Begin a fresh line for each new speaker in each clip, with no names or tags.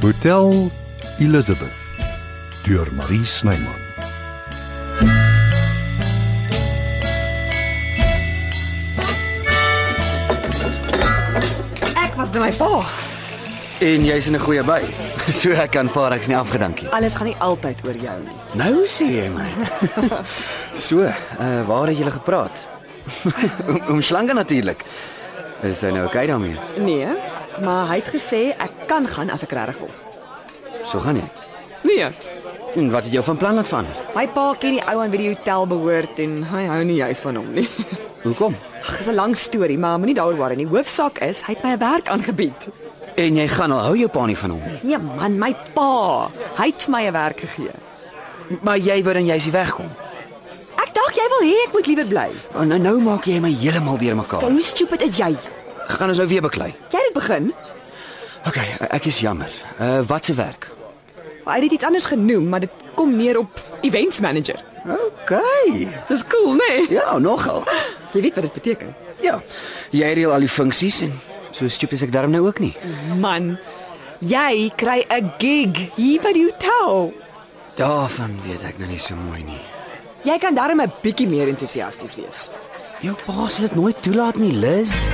Vertel Elizabeth deur Marie Snyman.
Ek was by my pa.
En jy's in 'n goeie by. So ek kan vaar ek's nie afgedankie.
Alles gaan nie altyd oor jou nie.
Nou sê jy my. so, uh, waar het julle gepraat? om om slange natuurlik. Is hy nou okay daarmee?
Nee, maar hy het gesê ek kan gaan as ek regtig wil.
So gaan jy.
Nee.
En wat het jou van plan laat verander?
My pa ken die ou aan wie die hotel behoort en hy hou nie juis van hom nie.
Hoekom?
Ag, dis 'n lang storie, maar moenie daaroor worry nie. Hoofsaak is hy het my 'n werk aangebied.
En jy gaan al hou jou pa nie van hom nie.
Nee man, my pa. Hy het vir my 'n werk gegee.
Maar jy wou dan jy's hier wegkom.
Ek dink jy wil hê ek moet liewer bly.
Oh, nou nou maak jy my heeltemal deurmekaar.
Hoe stupid is jy?
Gaan ons nou weer beklei.
Jy het begin.
Okay, ek is jammer. Uh wat se werk?
Hy het dit iets anders genoem, maar dit kom neer op events manager.
Okay.
Dis cool, nee.
Ja, nogal.
Jy weet wat dit beteken.
Ja. Jy reël al die funksies en so stupid is ek daarom nou ook nie.
Man, jy kry 'n gig hier by die hotel.
Daarvan weet ek nou nie so mooi nie.
Jy kan darm 'n bietjie meer entoesiasties wees.
Jou pa sal dit nooit toelaat nie, Liz.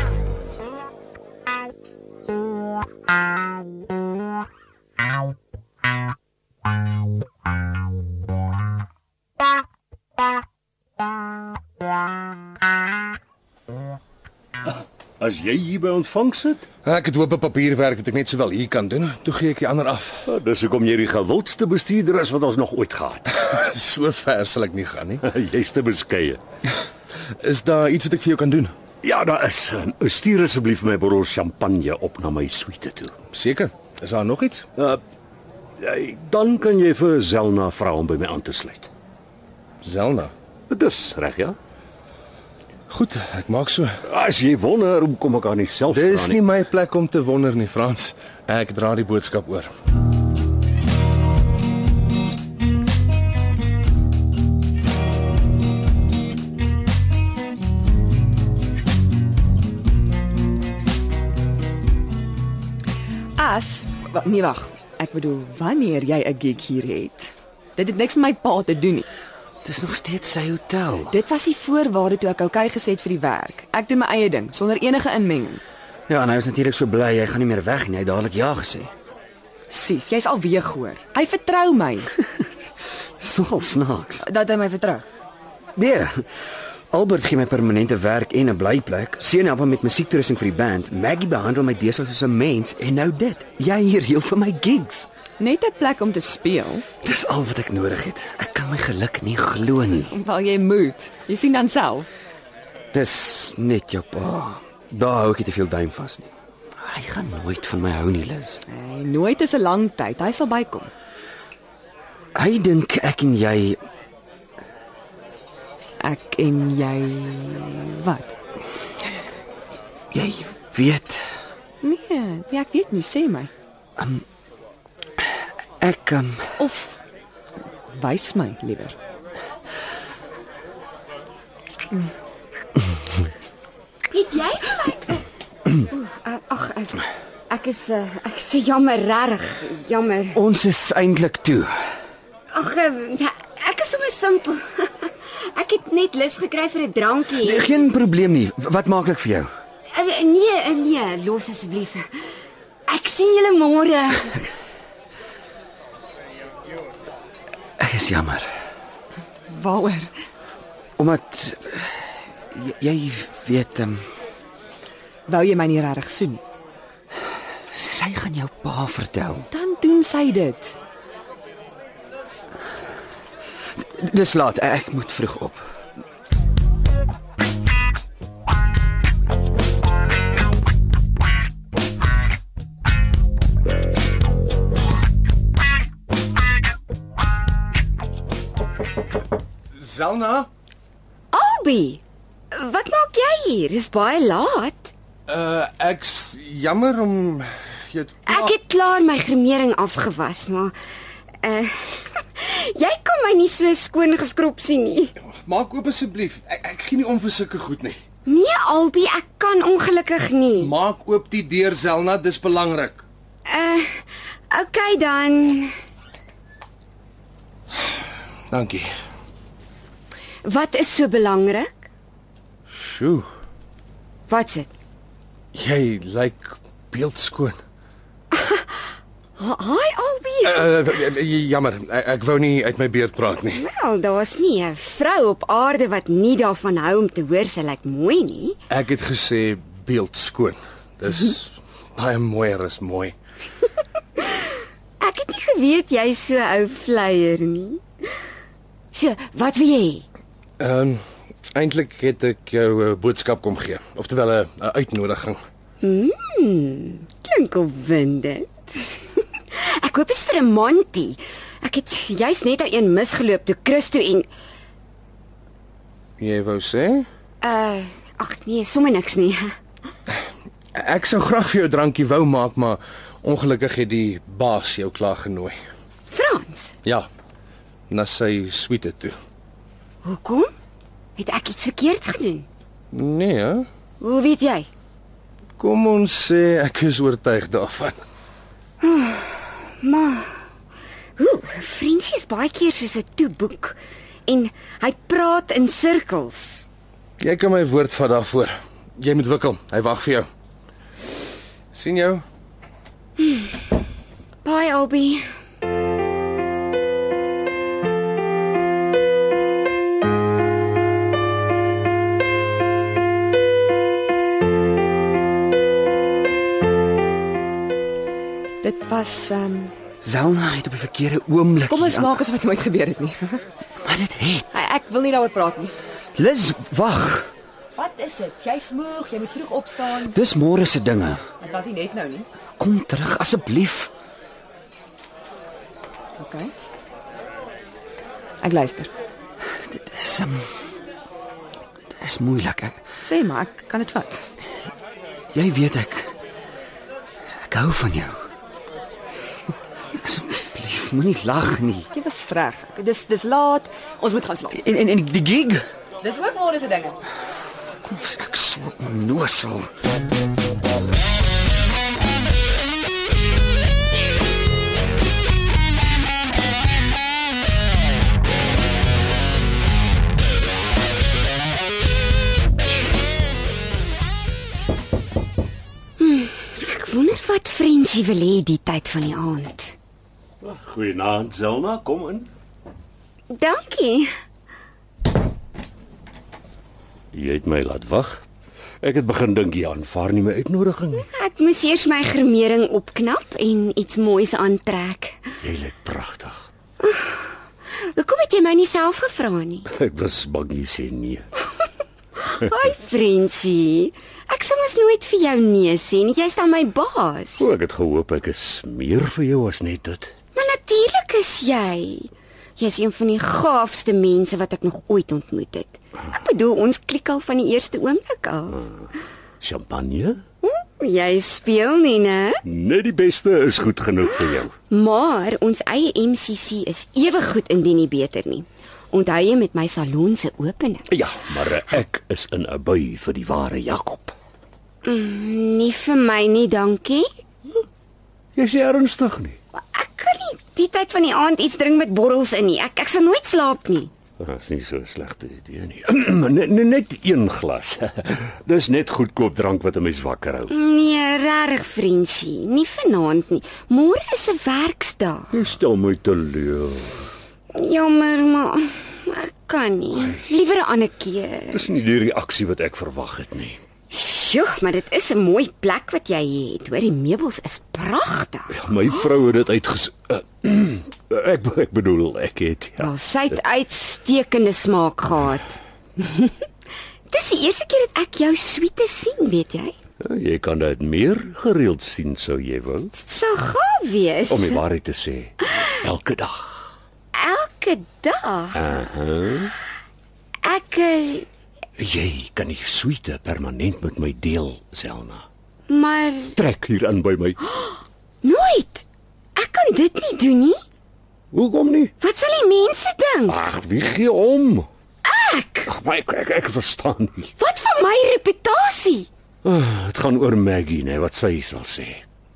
As jy hier by ontvangs sit,
Ek het hoop op papierwerk wat ek net sowel hier kan doen. Toe gee ek die ander af.
ah, dis hoekom jy die gewildste bestuurder is wat ons nog ooit gehad het.
So ver sal ek nie gaan nie.
Jy's te beskeie.
Is daar iets wat ek vir jou kan doen?
Ja, daar is. En Stuur asseblief my bottel champagne op na my suite toe. Uh,
Seker. Is daar nog iets?
Jy- Dan kan jy vir Zelna vra om by my aan te sluit.
Zelna.
Dis reg, ja?
Goed, ek maak so.
As jy wonder hoe kom ek aan myself
Dis nie my plek om te wonder nie, Frans. Ek dra die boodskap oor.
As wa- nee wag, ek bedoel wanneer jy 'n gig hier het. Dit het niks met my pa te doen nie.
Dis nog steeds sy hotel.
Dit was die voorwaarde toe ek oukei gesê het vir die werk. Ek doen my eie ding sonder enige inmenging.
Ja, en hy is natuurlik so bly hy gaan nie meer weg nie. Hy het dadelik ja gesê.
Sis, jy's al weer gehoor. Hy vertrou my
Dis nogal snaaks.
dat hy my vertrou.
Nee. Albert gee my permanente werk en 'n blyplek. Seun help my met musiektoerusting vir die band. Maggie behandel my deesdae soos 'n mens en nou dit. Jy hier heel vir my gigs.
Net 'n plek om te speel,
Dis al wat ek nodig het. Ek kan my geluk nie glo nie.
wel jy moet. Jy sien dan self.
Dis net jou pa. Daar hou ek nie te veel duim vas nie. Hy gaan nooit van my hou nie, Liz.
Nee, nooit is 'n lang tyd. Hy sal bykom.
Hy dink ek en jy
Ek en jy wat?
jy weet
Nee, nee, ek weet nie, sê my.
ek um,
Of wys my liewer.
Het jy vir my Oeh, Ag, ek ek is eh, ek is so jammer regtig, jammer.
ons is eintlik toe.
Ag, eh, ek is sommer simpel. Ek het net lus gekry vir 'n drankie.
Nee, Geen probleem nie. W- Wat maak ek vir jou?
Eh, Nee, eh, nee, los asseblief. Ek sien julle môre.
Ek is jammer
Waaroor?
omdat jy, jy weet um,
Wou jy my nie regtig soen?
sy gaan jou pa vertel.
Dan doen sy dit.
D- Dis laat. Ek moet vroeg op.
Zelna?
Albi, wat maak jy hier? Dis baie laat.
Uh ek's jammer om jou te-
Ek het klaar my gremering afgewas, maar uh jy kan my nie so skoon geskrop sien nie.
maak oop asseblief. Ek, ek gee nie om vir sulke goed nie.
Nee, Albi, ek kan ongelukkig nie.
Maak oop die deur, Zelna, dis belangrik.
Uh, Okay dan.
Dankie.
Wat is so belangrik?
Sjoe,
Wat's dit?
jy lyk beeldskoon.
Ha- Hi Albie.
Uh, jammer, ek, ek wou nie uit my beerd praat nie.
Wel, daar's nie 'n vrou op aarde wat nie daarvan hou om te hoor sy lyk mooi nie.
Ek het gesê beeldskoon. Dis baie mooier as mooi.
Ek het nie geweet jy's so ou vleier nie. So, wat wil jy? hê?
Ehm um, eintlik het ek jou 'n boodskap kom gee, oftewel 'n 'n uitnodiging.
Hmm, Klink opwindend. Ek hoop dit is vir 'n maandie. Ek het juis net al een misgeloop toe Christo en
Jy wou sê?
uh ag nee, sommer niks nie.
Ek sou graag vir jou 'n drankie wou maak, maar ongelukkig het die baas jou klaar genooi.
Frans,
Ja. Na sy suite toe.
hoekom? Het ek iets verkeerd gedoen?
Nee, hè?
Hoe weet jy?
kom ons sê ek is oortuig daarvan.
Hoe, Frenchie is baie keer soos 'n toe boek en hy praat in sirkels.
Jy kan my woord vat daarvoor. Jy moet wikkel. Hy wag vir jou. sien jou.
Bye Albie.
Dit was um,
Zelna het op die verkeerde oomblik.
Kom ons
hier aan-
maak asof dit nooit gebeur het nie.
maar dit het.
Ja. Ek wil nie daaroor praat nie.
Liz, wag.
Wat is dit? Jy's moeg, jy moet vroeg opstaan.
Dis môre se dinge.
Dit was nie net nou nie.
Kom terug asseblief.
OK. Ek luister.
Dis um, Dis moeilik. Ek,
Sê maar, ek kan dit vat.
jy weet ek ek hou van jou. Asseblief, moenie lag nie.
Jy was reg. Ek- Dis dis laat. Ons moet gaan slaap.
En en en die gig?
Dis ook môre se dinge.
Kom ons ek so onnosel.
Ek wonder wat Frenchie wil hê die tyd van die aand.
Goeienaand, Zelna, kom in.
Dankie.
Jy het my laat wag. Ek het begin dink jy aanvaar nie my uitnodiging nie.
Ek moes eers my gremering opknap en iets moois aantrek.
Jy lyk pragtig.
Hoekom het jy my nie self gevra nie?
Ek was bang jy sê nee.
Hi Frenchie. Ek sal mos nooit vir jou nee sê nie. Jy's dan my baas.
O, ek het gehoop ek is meer vir jou as net dit.
Maar natuurlik is jy. Jy's een van die gaafste mense wat ek nog ooit ontmoet het. Ek bedoel, ons klik al van die eerste oomblik af. Hm,
Champagne?
Jy speel nie, né?
Net die beste is goed genoeg vir jou.
Maar ons eie MCC is ewe goed indien nie beter nie. Onthou jy met my salon se opening?
Ja, maar ek is in 'n bui vir die ware Jakob.
Nie vir my nie, dankie.
Jy's nie ernstig nie.
Ek kan nie die tyd van die aand iets drink met borrels in nie. Ek ek sal nooit slaap nie.
Dit is nie so 'n slegte idee nie. net, net- net een glas. Dis net goedkoop drank wat 'n mens wakker hou.
Nee, regtig, Frenchie, nie vanaand nie. Môre is 'n werksdag.
Jy stel my teleur.
Jammer, maar ek kan nie. Liewer 'n ander keer.
Dis nie die reaksie wat ek verwag het nie.
Sjoe, maar dit is 'n mooi plek wat jy hier het. Hoor, die meubels is pragtig.
My vrou het dit uitges uh, ek ek bedoel ek het ja.
Wel, sy het uitstekende smaak gehad. Dis die eerste keer dat ek jou suite sien, weet jy?
Jy kan dit meer gereeld sien sou jy wou
Dit sal gaaf wees.
om die waarheid te sê. Elke dag.
Elke dag.
Uh-huh.
Ek eh,
Jy kan die suite permanent met my deel, Selna.
maar
Trek hier aan by my.
nooit. Ek kan dit nie doen nie.
Hoekom nie?
Wat sal die mense dink?
Ag, wie gee om?
Ek,
Ag, maar ek ek, ek verstaan nie.
wat van my reputasie?
Ah, Dit gaan oor Maggie, nê, wat sy nee, sal sê.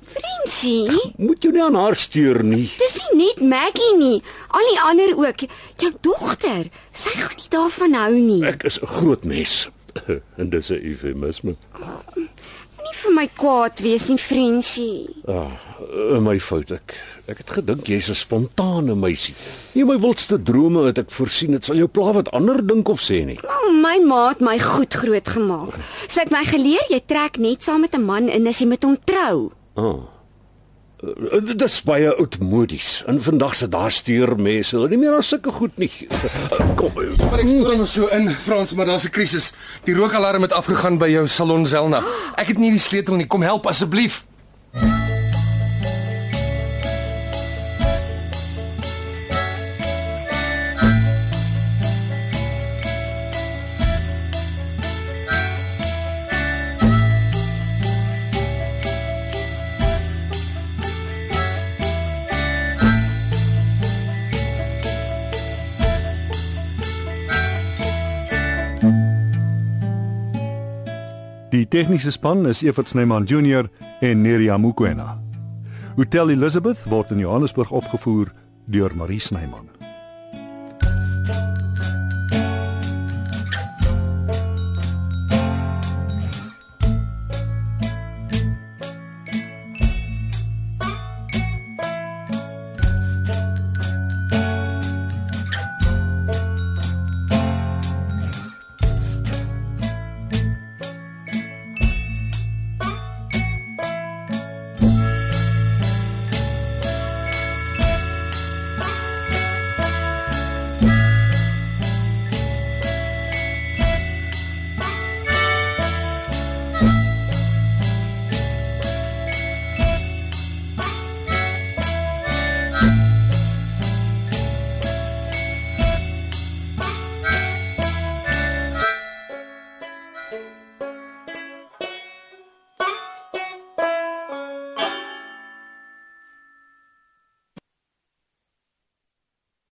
Prinsie,
Moet jou nie aan haar steur nie.
dis nie net Maggie nie, al die ander ook. Jou dogter, sy gaan nie daarvan hou nie.
Ek is 'n groot mens. En dis 'n eufemisme.
Moenie vir my kwaad wees nie, Frenchie.
Ah, eh, my fout ek. Ek het gedink jy's 'n spontane meisie. Nie my wildste drome het ek voorsien dit sal jou pla wat ander dink of sê nie.
Maar Nou, my ma het my goed grootgemaak. Sy het my geleer jy trek net saam met 'n man in as jy met hom trou.
Ah. Eh, Dit is baie oudmodies. En vandag se daar steur mense hulle nie meer aan sulke goed nie. Eh, Kom. eh,
Maar ek storm so in Frans, maar daar's 'n krisis. Die rookalarm het afgegaan by jou salon Zelna. Ek het nie die sleutel nie. Kom help asseblief.
Die tegniese span is Evert Snyman Junior en Neriya Mukwena. Hotel Elizabeth word in Johannesburg opgevoer deur Marie Snyman.